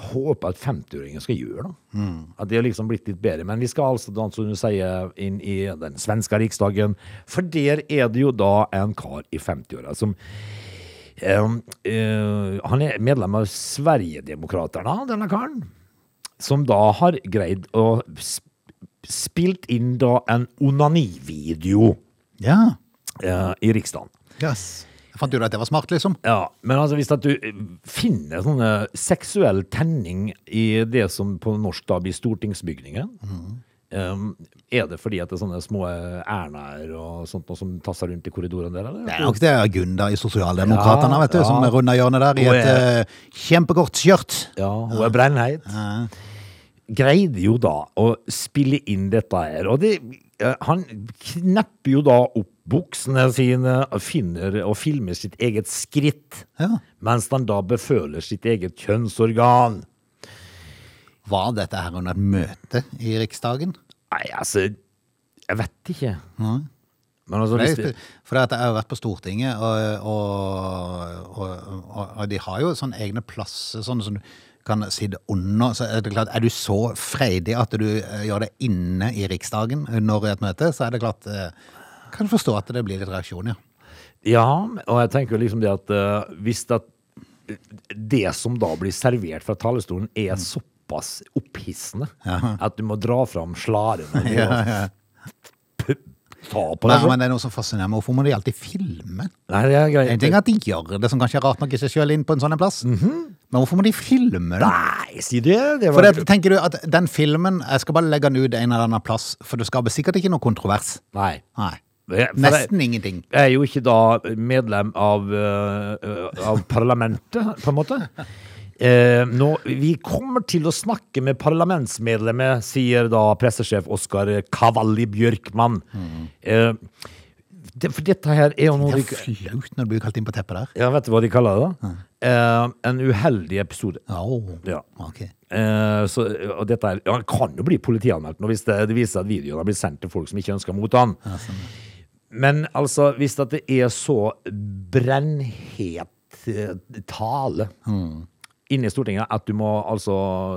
Speaker 3: håper at 50-åringer skal gjøre. Da. At de har liksom blitt litt bedre. Men vi skal altså, da, som du sier, inn i den svenske riksdagen. For der er det jo da en kar i 50-åra som Um, eh, han er medlem av Sverigedemokraterna, denne karen. Som da har greid å sp spilt inn da en onanivideo
Speaker 1: Ja.
Speaker 3: eh, i Riksdagen.
Speaker 1: Yes. Jeg fant jo at det var smart, liksom.
Speaker 3: Ja, men altså hvis at du eh, finner sånne seksuell tenning i det som på norsk da blir stortingsbygningen, Um, er det fordi at det er sånne små eh, Ernaer og sånt noe som tasser rundt i korridoren der, eller?
Speaker 1: Det er nok det er Gunda i Sosialdemokratene vet du,
Speaker 3: Ja, ja.
Speaker 1: som runder hjørnet der i
Speaker 3: Hun
Speaker 1: et
Speaker 3: er-
Speaker 1: eh, kjempekort skjørt.
Speaker 3: Ja, hun er brennheit. Greide jo da å spille inn dette her, og det, eh, han knepper jo da opp buksene sine, finner og filmer sitt eget skritt,
Speaker 1: Ja.
Speaker 3: mens han da beføler sitt eget kjønnsorgan.
Speaker 1: Var dette her under et møte i Riksdagen?
Speaker 3: Nei, altså, jeg vet ikke. Men altså,
Speaker 1: Nei,
Speaker 3: hvis det,
Speaker 1: For at jeg har vært på Stortinget, og, og, og, og, og de har jo sånne egne plasser sånne som du kan sitte under. Så er, det klart, er du så freidig at du eh, gjør det inne i Riksdagen under et møte, så er det klart eh, Kan forstå at det blir litt reaksjon, ja.
Speaker 3: ja, og jeg tenker jo liksom det at eh, hvis det, det som da blir servert fra talerstolen er
Speaker 1: Mm.
Speaker 3: såpass opphissende at du må dra fram slaren og p- ta på
Speaker 1: Nei,
Speaker 3: det.
Speaker 1: men det er noe som fascinerer meg. Hvorfor må de alltid filme?
Speaker 3: Nei, det er
Speaker 1: En ting
Speaker 3: greit.
Speaker 1: er at de gjør det, som kanskje er rart nok i seg sjøl, inn på en sånn en plass. Men hvorfor må de filme det?
Speaker 3: Mhm. Nei, si det. det
Speaker 1: For
Speaker 3: var,
Speaker 1: det, tenker du at den filmen Jeg skal bare legge den ut en eller annen plass, for det skaper sikkert ikke noe kontrovers.
Speaker 3: nei.
Speaker 1: Nei.
Speaker 3: Det- for det-
Speaker 1: Nesten ingenting.
Speaker 3: Jeg er jo ikke da medlem av, eh, eh, av parlamentet, på en måte. Eh, nå, vi kommer til å snakke med parlamentsmedlemmet, sier da pressesjef Oskar Kavalli Bjørkmann. Eh, det, for dette her er jo noe
Speaker 1: Det
Speaker 3: de,
Speaker 1: er flaut når du blir kalt inn på teppet der.
Speaker 3: Ja, vet du hva de kaller det? da? Eh, en uheldig episode.
Speaker 1: Åh,
Speaker 3: Ja.
Speaker 1: ok.
Speaker 3: Eh, så, og dette er, ja, han kan jo bli politianmeldt nå hvis det, det viser at videoen har blitt sendt til folk som ikke ønsker mot han. Men altså, hvis at det er så brennhet eh, tale
Speaker 1: Mm.
Speaker 3: inne i Stortinget at du må altså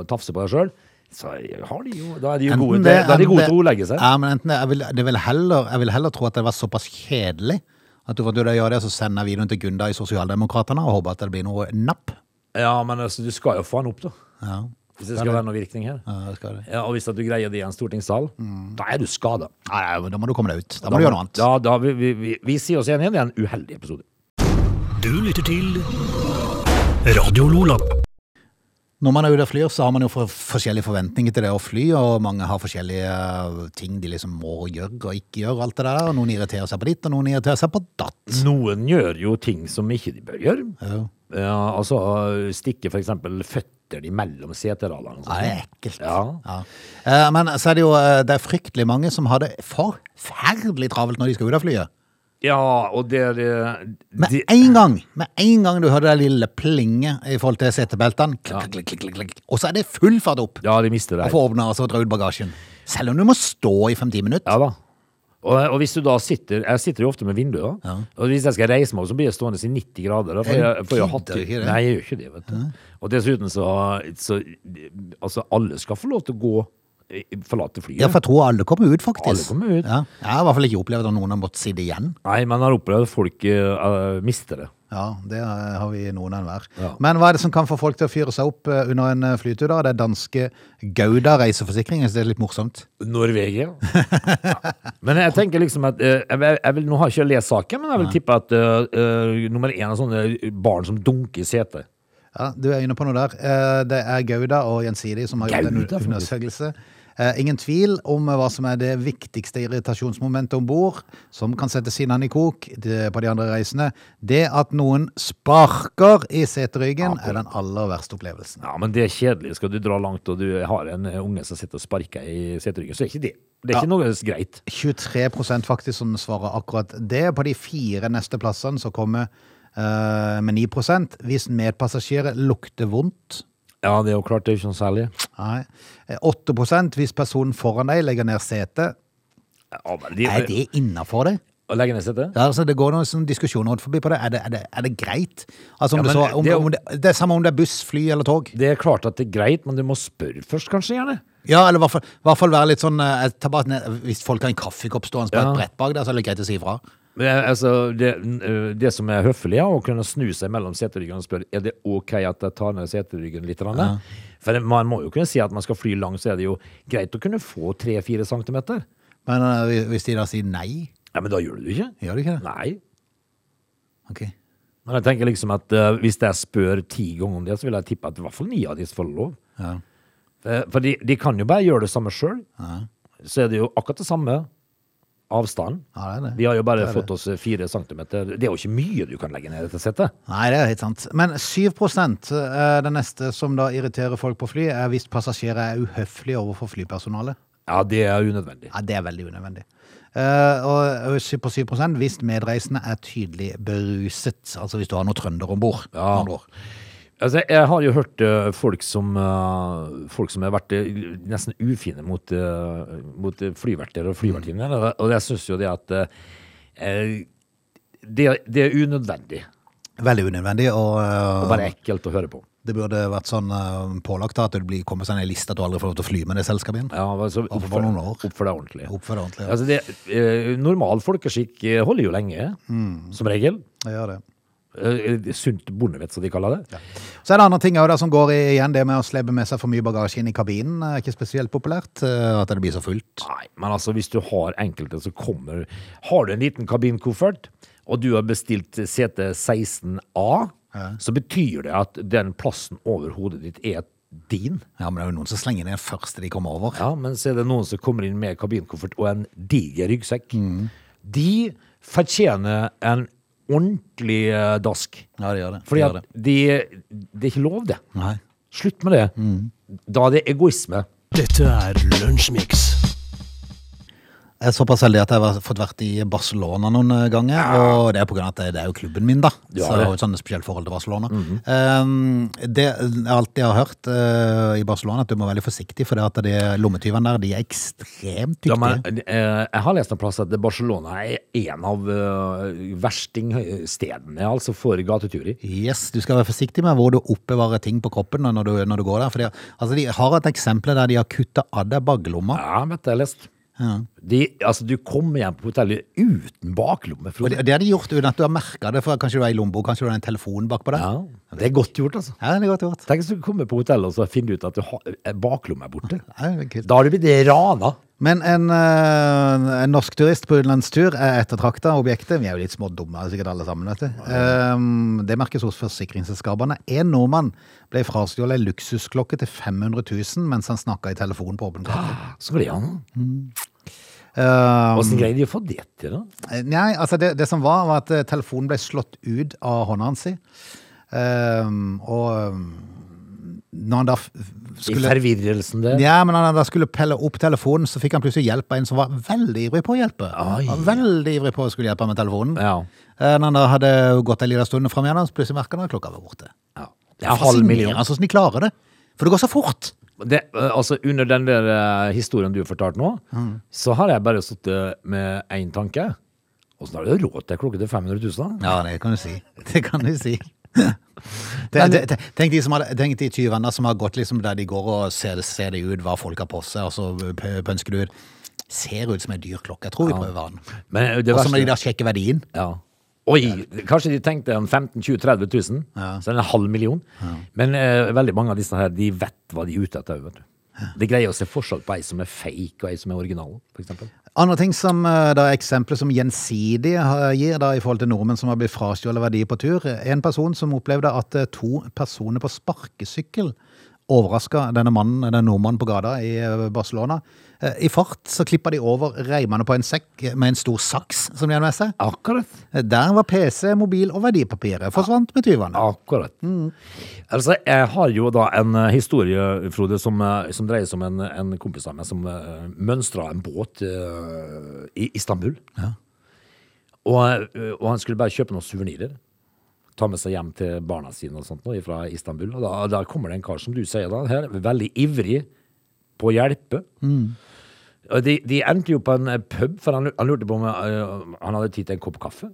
Speaker 3: tafse på deg sjøl, så har de jo, da er de jo gode, til- da er de gode til å ordlegge seg.
Speaker 1: Ja, men enten det, jeg, vil, det vil heller, jeg vil heller tro at det var såpass kjedelig at du får til å gjøre det, så sender jeg videoen til Gunda i Sosialdemokratene og håper at det blir noe napp.
Speaker 3: Ja, men altså, du skal jo få han opp, da.
Speaker 1: Ja,
Speaker 3: Hvis det skal være noe virkning her.
Speaker 1: ja det skal det.
Speaker 3: Ja, og hvis at du greier det i en stortingssal, da er du skada.
Speaker 1: Nei, nei, da må du komme deg ut. Mm. Da må du gjøre noe annet.
Speaker 3: Ja, da, vi, vi, vi, vi sier oss enige, det er en uheldig episode.
Speaker 2: Du lytter til Radio Lola.
Speaker 1: Når man er ute og flyr, så har man jo for forskjellige forventninger til det å fly, og mange har forskjellige eh, ting de liksom må gjøre og ikke gjøre, og alt det der. Og noen irriterer seg på ditt, og noen irriterer seg på datt.
Speaker 3: Noen gjør jo ting som ikke de bør gjøre.
Speaker 1: Ja.
Speaker 3: Ja, altså stikke for eksempel føtter de mellom seteradene. og
Speaker 1: Ja,
Speaker 3: sånn. sånt.
Speaker 1: det er ekkelt.
Speaker 3: Ja.
Speaker 1: Eh, Men så er det jo eh, det er fryktelig mange som har det forferdelig travelt når de skal ut av flyet.
Speaker 3: ja, og det er eh,
Speaker 1: Med
Speaker 3: de-
Speaker 1: en gang med en gang du hører det lille plinget i forhold til setebeltene, klikk, klikk, klikk, klikk, klikk. og så er det full fart opp
Speaker 3: Ja, de mister
Speaker 1: og
Speaker 3: det. her.
Speaker 1: få åpna altså, og dra ut bagasjen. Selv om du må stå i fem-ti minutter.
Speaker 3: Ja da. Og, og hvis du da sitter Jeg sitter jo ofte med vinduer. Og hvis jeg skal reise meg, så blir jeg stående i 90 grader. Da, for
Speaker 1: Jeg
Speaker 3: jeg, for jeg har hatt
Speaker 1: gidder ikke det.
Speaker 3: Nei, jeg gjør ikke det, vet du. Og dessuten så, så Altså, alle skal få lov til å gå eh, Forlate flyet.
Speaker 1: Ja, for jeg tror alle kommer ut, faktisk.
Speaker 3: Alle kommer ut.
Speaker 1: Ja. Jeg har i hvert fall ikke opplevd at noen har måttet sitte igjen.
Speaker 3: Nei, men jeg har opplevd at folk eh, eh, mister det.
Speaker 1: Ja, det eh, har vi noen av enhver.
Speaker 3: Ja.
Speaker 1: Men hva er det som kan få folk til å fyre seg opp eh, under en eh, flytur, da? Det er danske Gouda reiseforsikring, så det er litt morsomt.
Speaker 3: Norvegia. men jeg tenker liksom at eh, jeg, vil- jeg vil, Nå har ikke jeg lest saken, men jeg vil tippe at eh, eh, nummer én er sånne barn som dunker i setet.
Speaker 1: Ja, du er inne på noe der. Eh, Det er Gauda og Gjensidig som har gjort en
Speaker 3: Gauda, faktisk.
Speaker 1: undersøkelse. Eh, Ingen tvil om hva som er det viktigste irritasjonsmomentet om bord, som kan sette sinnene i kok det- på de andre reisene. Det at noen sparker i seteryggen er den aller verste opplevelsen.
Speaker 3: Ja, men det er kjedelig. Skal du dra langt og du har en eh, unge som sitter og sparker i seteryggen, så er ikke det Det er ikke noe greit.
Speaker 1: 23 faktisk som svarer akkurat det. På de fire neste plassene så kommer eh, med 9 hvis medpassasjerer lukter vondt.
Speaker 3: Ja, det er jo klart, det er jo ikke noe særlig.
Speaker 1: Nei. Eh, 8 hvis personen foran deg legger ned setet.
Speaker 3: Ja, men de,
Speaker 1: Er det innafor det?
Speaker 3: Å legge ned setet?
Speaker 1: Ja, altså, det går noen sånn diskusjoner rundt forbi på det. Er det, er det, er det greit? Altså, om
Speaker 3: Ja,
Speaker 1: det,
Speaker 3: men
Speaker 1: så, om,
Speaker 3: det
Speaker 1: det,
Speaker 3: er jo-
Speaker 1: om det, det er samme om det er buss, fly eller tog.
Speaker 3: Det er klart at det er greit, men du må spørre først, kanskje, gjerne.
Speaker 1: Ja, eller i hvert fall, i hvert fall være litt sånn eh, jeg tar bare ned, Hvis folk har en kaffekopp stående på
Speaker 3: Ja.
Speaker 1: et brett bak der, så er det greit å si ifra.
Speaker 3: Men, eh, altså, det, n- eh, det som er høflig, er å kunne snu seg mellom seteryggene og spørre er det ok at jeg tar ned seteryggen litt. grann?» For man må jo kunne si at man skal fly langt, så er det jo greit å kunne få 3-4 centimeter.
Speaker 1: Men eh, hvis de da sier nei,
Speaker 3: Ja, men da gjør du det ikke.
Speaker 1: gjør de ikke det?
Speaker 3: Nei.
Speaker 1: Ok.
Speaker 3: Men jeg tenker liksom at eh, hvis jeg spør ti ganger om det, så vil jeg tippe at i hvert fall ni av de får lov.
Speaker 1: Ja.
Speaker 3: Eh, For de, de kan jo bare gjøre det samme sjøl. så er det jo akkurat det samme avstanden.
Speaker 1: Ja, det er det.
Speaker 3: Vi har jo bare
Speaker 1: Det er
Speaker 3: fått oss eh, fire centimeter. Det er jo ikke mye du kan legge ned i dette settet.
Speaker 1: Nei, det er helt sant. Men 7 eh, det neste som da irriterer folk på fly, er hvis passasjerer er uhøflige overfor flypersonalet.
Speaker 3: Ja, det er unødvendig.
Speaker 1: Ja, det er veldig unødvendig. Eh, og og sy- på 7 hvis medreisende er tydelig beruset, altså hvis du har noen trønder om bord.
Speaker 3: Ja. Altså, jeg har jo hørt eh, folk, som, eh, folk som har vært eh, nesten ufine mot, eh, mot eh, flyverter og flyvertinner, og- og jeg syns jo det at eh, det, det er unødvendig
Speaker 1: Veldig unødvendig, og, eh,
Speaker 3: og bare ekkelt å høre på.
Speaker 1: det burde vært sånn eh, pålagt da, at det blir kommet sånn en liste at du aldri får lov til å fly med det selskapet igjen.
Speaker 3: Ja, altså,
Speaker 1: for
Speaker 3: oppfør,
Speaker 1: noen år.
Speaker 3: oppfør deg ordentlig.
Speaker 1: Oppfør deg ordentlig, ja.
Speaker 3: Altså, det, eh, normal folkeskikk eh, holder jo lenge,
Speaker 1: Mm.
Speaker 3: som regel.
Speaker 1: Jeg gjør det.
Speaker 3: Eh, sunt bondevett, som de kaller det.
Speaker 1: Så er det andre ting også, da, som går i- igjen, det med å slippe med seg for mye bagasje inn i kabinen eh, er ikke spesielt populært. eh, At det blir så fullt.
Speaker 3: Nei, men altså hvis du har enkelte som kommer Har du en liten kabinkoffert, og du har bestilt sete 16A, så betyr det at den plassen over hodet ditt er din.
Speaker 1: Ja, men det er jo noen som slenger ned første de kommer over.
Speaker 3: Ja, men så er det noen som kommer inn med kabinkoffert og en diger ryggsekk. De fortjener en ordentlig eh, dask.
Speaker 1: Ja, det gjør det.
Speaker 3: Fordi
Speaker 1: det, gjør
Speaker 3: at de, det er ikke lov, det.
Speaker 1: det. Nei.
Speaker 3: Slutt med det. Da er det egoisme.
Speaker 2: Dette er Lunsjmix.
Speaker 1: Jeg er såpass heldig at jeg har fått vært i Barcelona noen eh, ganger. Og det er på grunn av at det- det er jo klubben min, da.
Speaker 3: Ja,
Speaker 1: så jeg har jo
Speaker 3: det. Mhm.
Speaker 1: et sånt spesielt forhold til Barcelona. um, det jeg alltid har hørt eh, i Barcelona, at du må være veldig forsiktig, for det at de lommetyvene der, de er ekstremt dyktige.
Speaker 3: Ja, men, eh, jeg har lest en plass at Barcelona er en av eh, verstingstedene altså for gateturi.
Speaker 1: Yes, du skal være forsiktig med hvor du oppbevarer ting på kroppen når du, når du går der. For de, altså, de har et eksempel der de har kutta av deg baglomma.
Speaker 3: Ja, vet du, jeg har lest. De, altså, du kommer hjem på hotellet uten baklomme,
Speaker 1: Og
Speaker 3: Frode.
Speaker 1: det, det har de gjort uten at du har merka det, for kanskje du er i lommebok, kanskje du har en telefon bakpå deg.
Speaker 3: Ja, det er godt gjort, altså.
Speaker 1: Ja, det er godt gjort.
Speaker 3: Tenk hvis du kommer på hotellet og så finner du ut at du har, eh, baklomma er borte.
Speaker 1: Ja, det er kult.
Speaker 3: Da har du blitt rana.
Speaker 1: Men en, eh, en norsk turist på utenlandstur er ettertrakta objektet. Vi er jo litt smådumme sikkert alle sammen, vet du. Ehm, det merkes hos forsikringsselskapene. En nordmann ble frastjålet ei luksusklokke til 500 000 mens han snakka i telefon på åpen gate.
Speaker 3: Så ble han.
Speaker 1: Mm. Ehm,
Speaker 3: Åssen greide de å få det til, da?
Speaker 1: nei, altså det, det som var, var at eh, telefonen ble slått ut av hånda hans. i. Ehm, og ehm, når han da f-
Speaker 3: I
Speaker 1: skulle
Speaker 3: forvirrelsen der.
Speaker 1: Ja, men når han da skulle pelle opp telefonen, så fikk han plutselig hjelp av en som var veldig ivrig på å hjelpe.
Speaker 3: Oi.
Speaker 1: Han var veldig ivrig på å skulle hjelpe ham med telefonen.
Speaker 3: Ja.
Speaker 1: Eh, Når han da hadde gått en liten stund fram igjen, så plutselig merka han at klokka var borte.
Speaker 3: ja.
Speaker 1: Det
Speaker 3: En
Speaker 1: er
Speaker 3: halv million.
Speaker 1: fascinerende sånn de klarer det. For det går så fort.
Speaker 3: det, eh, altså Under den der eh, historien du fortalte nå,
Speaker 1: Mm.
Speaker 3: så har jeg bare sittet med én tanke. Åssen har du råd til ei klokke til 500 000? da?
Speaker 1: Ja, det kan du si. Det kan du si. Det, det, det, tenk de, som hadde, tenk de tyvene som har gått liksom der de går og ser, ser det ut, hva folk har på seg, og så p- pønsker du ut. Ser ut som en dyr klokke. Jeg tror vi prøver den.
Speaker 3: Men det
Speaker 1: Og så må de da
Speaker 3: verste
Speaker 1: sjekke verdien.
Speaker 3: ja. Oi, kanskje de tenkte en 15 20 30 000, så er det en halv million. Men eh, veldig mange av disse her, de vet hva de er ute etter. vet du. De greier å se forskjell på ei som er fake, og ei som er original, f.eks.
Speaker 1: Andre ting som eh, da eksempler som gjensidig eh, gir da i forhold til nordmenn som har blitt frastjålet verdier på tur. En person som opplevde at eh, to personer på sparkesykkel overrasket denne mannen, denne nordmannen på gata i eh, Barcelona. Eh, I fart så klippet de over reimene på en sekk med en stor saks som de hadde med seg.
Speaker 3: Akkurat.
Speaker 1: Eh, Der var PC, mobil og verdipapiret forsvant med tyvene.
Speaker 3: Akkurat. Altså, jeg har jo da en eh, historie, Frode, som, eh, som dreier seg om en, en kompis av meg som uh, mønstra en båt eh, i Istanbul. Og, eh, og han skulle bare kjøpe noen suvenirer. Ta med seg hjem til barna sine og sånt nå, fra Istanbul. Og da, da kommer det en kar, som du sier da, her, veldig ivrig på å hjelpe. Og de, de endte jo på en eh, pub, for han, lu- han lurte på om eh, han hadde tid til en kopp kaffe.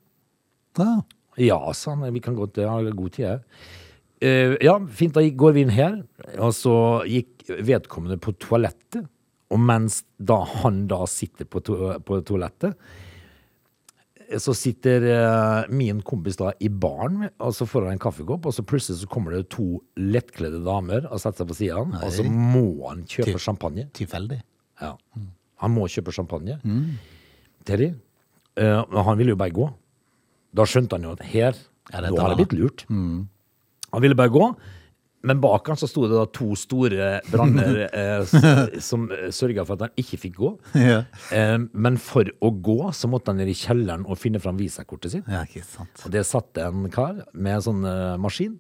Speaker 1: Ja.
Speaker 3: Ja, sa han. Vi kan godt ha god tid, jeg. Eh, ja, fint. Da gikk- går vi inn her. Og så gikk vedkommende på toalettet. Og mens da han da sitter på, to på toalettet, eh, så sitter eh, min kompis da i baren, og så får han en kaffekopp, og så plutselig så kommer det to lettkledde damer og setter seg på sida av han, og så må han kjøpe champagne.
Speaker 1: Tilfeldig.
Speaker 3: Ja. Han må kjøpe champagne. Terry, eh, men han ville jo bare gå. Da skjønte han jo at her,
Speaker 1: Ja, det
Speaker 3: nå
Speaker 1: drar
Speaker 3: har jeg
Speaker 1: han.
Speaker 3: blitt lurt. Han ville bare gå, Men bak han så sto det da to store branner eh, s- som eh, sørga for at han ikke fikk gå.
Speaker 1: Ja.
Speaker 3: Eh, men for å gå så måtte han ned i kjelleren og finne fram visakortet sitt.
Speaker 1: Ja, ikke sant.
Speaker 3: Og det satte en kar med en sånn eh, maskin.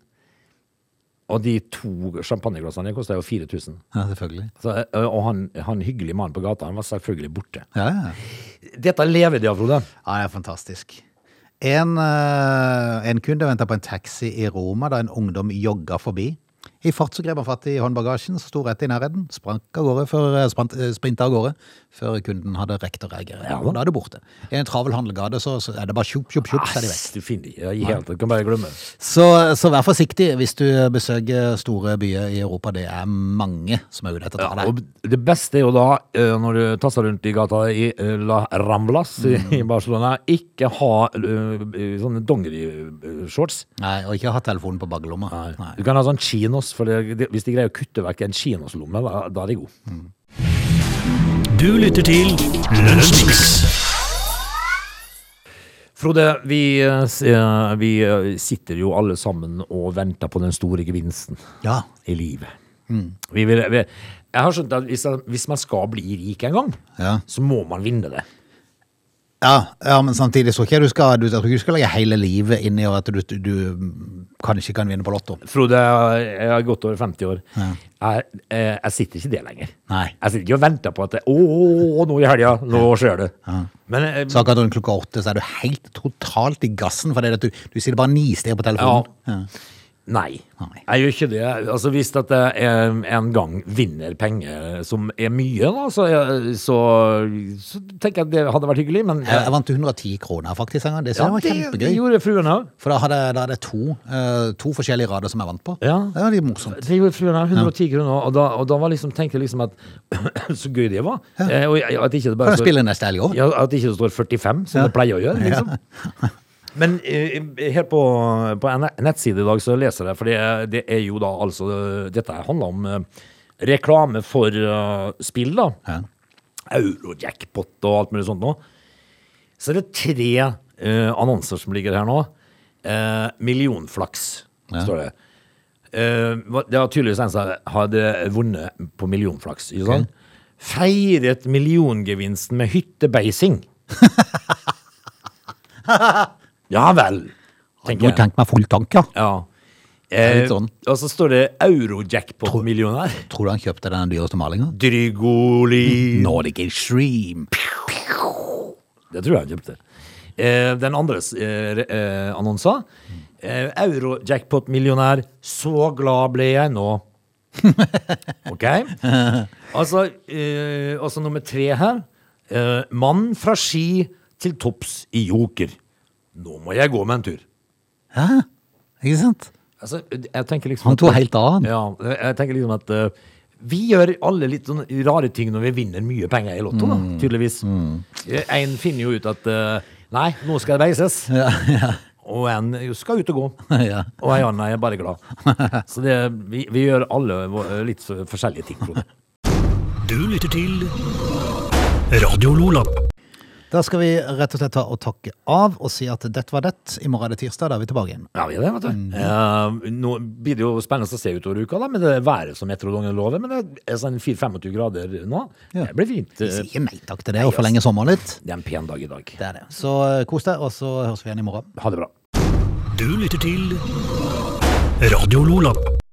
Speaker 3: Og de to champagneglassene kosta jo 4000.
Speaker 1: Ja, selvfølgelig.
Speaker 3: Så, eh, og han, han hyggelige mannen på gata han var selvfølgelig borte.
Speaker 1: Ja, ja.
Speaker 3: Dette lever de av, Frode.
Speaker 1: Ja, det er fantastisk. En, eh, en kunde venta på en taxi i Roma da en ungdom jogga forbi. I fart så grep han fatt i håndbagasjen, så sto rett i nærheten. Sprank av gårde før, eh, sprant, eh, sprinta av gårde før kunden hadde rekt å reagere.
Speaker 3: Ja.
Speaker 1: Og da er det borte. I en travel handlegate så, så er det bare tjopp, tjopp, tjopp, så er de vekk.
Speaker 3: Ass, du finner de. Ja, i hele tatt. Du kan bare glemme.
Speaker 1: Så, så vær forsiktig hvis du besøker store byer i Europa. Det er mange som er ute etter å ta
Speaker 3: Ja,
Speaker 1: deg.
Speaker 3: og det beste er jo da, eh, når du tasser rundt i gata i eh, La Ramblas i- i Barcelona, ikke ha eh, sånne dongerishorts.
Speaker 1: Nei, og ikke ha telefonen på baklomma.
Speaker 3: Du kan ha sånn chinos, for det, det, hvis de greier å kutte vekk en chinoslomme, da, da er de gode.
Speaker 2: Du lytter til Lunsjmix.
Speaker 3: Frode, vi, eh, s- eh, vi eh, sitter jo alle sammen og venter på den store gevinsten
Speaker 1: Ja.
Speaker 3: i livet.
Speaker 1: Mm.
Speaker 3: Vi vil, vi, jeg har skjønt at hvis, hvis man skal bli rik en gang,
Speaker 1: Ja.
Speaker 3: så må man vinne det.
Speaker 1: Ja, ja, men samtidig så tror ikke jeg du skal, du, jeg tror ikke du skal legge hele livet inn i at du, du, du kanskje kan vinne på lotto.
Speaker 3: Frode, jeg har gått over 50 år.
Speaker 1: Ja.
Speaker 3: Jeg, eh, jeg sitter ikke det lenger.
Speaker 1: Nei.
Speaker 3: Jeg sitter ikke og venter på at det, Å, nå i helga, nå skjer det. Men eh,
Speaker 1: Så akkurat rundt klokka åtte så er du helt totalt i gassen, for det er at du, du sitter bare nistirrer på telefonen. Ja.
Speaker 3: Nei.
Speaker 1: Nei.
Speaker 3: Jeg gjør ikke det. Altså, hvis at jeg eh, en gang vinner penger som er mye, da, så, eh, så, så tenker jeg at det hadde vært hyggelig, men eh,
Speaker 1: Jeg, jeg vant 110 kroner faktisk en gang, det synes
Speaker 3: Ja,
Speaker 1: jeg var
Speaker 3: det, det
Speaker 1: kjempegøy.
Speaker 3: gjorde fruen òg.
Speaker 1: For da hadde, da hadde jeg to, eh, to forskjellige rader som jeg vant på.
Speaker 3: Ja.
Speaker 1: Det var litt morsomt.
Speaker 3: Det gjorde fruen òg. 110 kroner. Og da, og da var liksom, tenkte jeg liksom at så gøy det var. Eh, Og jeg- at ikke det bare
Speaker 1: Kan jeg
Speaker 3: står,
Speaker 1: spille neste helg også?
Speaker 3: ja, at ikke det står 45, som det pleier å gjøre. liksom. Men eh, her på, på en nettside i dag så leser jeg, for det, det er jo da altså Dette her handler om eh, reklame for eh, spill, da.
Speaker 1: Ja.
Speaker 3: Eurojackpot og alt mulig sånt nå. Så er det tre eh, annonser som ligger her nå. Eh, millionflaks,
Speaker 1: Ja.
Speaker 3: står det. Eh, hva- det var tydeligvis en som hadde vunnet på millionflaks. Ikke sant? Feiret milliongevinsten med hyttebeising. ja vel,
Speaker 1: Du
Speaker 3: tenker jeg.
Speaker 1: tenkte meg full tank, ja.
Speaker 3: Ja.
Speaker 1: er
Speaker 3: Eh,
Speaker 1: litt sånn.
Speaker 3: og så står det Eurojackpot-millionær.
Speaker 1: Tror du han kjøpte den dyreste malingen?
Speaker 3: Drygoli
Speaker 1: Nordic Extreme.
Speaker 3: Det tror jeg han kjøpte. Eh, den andre eh, re- eh, annonsa eh, Eurojackpot-millionær, så glad ble jeg nå. OK? Altså, eh, altså nummer tre her. Eh, mann fra Ski til topps i joker. Nå må jeg gå med en tur.
Speaker 1: Hæ? Ikke sant?
Speaker 3: Altså, jeg tenker liksom
Speaker 1: Han
Speaker 3: at-
Speaker 1: tog helt av.
Speaker 3: Ja, jeg tenker liksom at eh, vi gjør alle litt sånn rare ting når vi vinner mye penger i lotto, da,
Speaker 1: Mm.
Speaker 3: tydeligvis. Eh, En finner jo ut at eh, nei, nå skal det veises.
Speaker 1: Ja, ja.
Speaker 3: Og en skal ut og gå.
Speaker 1: Ja.
Speaker 3: Og en annen er bare glad. Så det, vi, vi gjør alle vå- litt så- forskjellige ting, Frode.
Speaker 2: Du lytter til Radio Lola.
Speaker 1: Da skal vi rett og slett ta og takke av og si at dette var det. I morgen er det tirsdag, da er vi tilbake igjen.
Speaker 3: Ja, vi er det, vet du.
Speaker 1: Mm.
Speaker 3: Eh, nå blir det jo spennende å se utover uka, da, med det været som meteorologene lover. Men det er sånn 4-25 grader nå.
Speaker 1: Ja.
Speaker 3: Det blir fint.
Speaker 1: Vi
Speaker 3: Eh,
Speaker 1: sier nei takk til det, og forlenge sommeren litt.
Speaker 3: Det er en pen dag i dag.
Speaker 1: Det er det. Så eh, kos deg, og så høres vi igjen i morgen.
Speaker 3: Ha det bra.
Speaker 2: Du lytter til Radio Lola.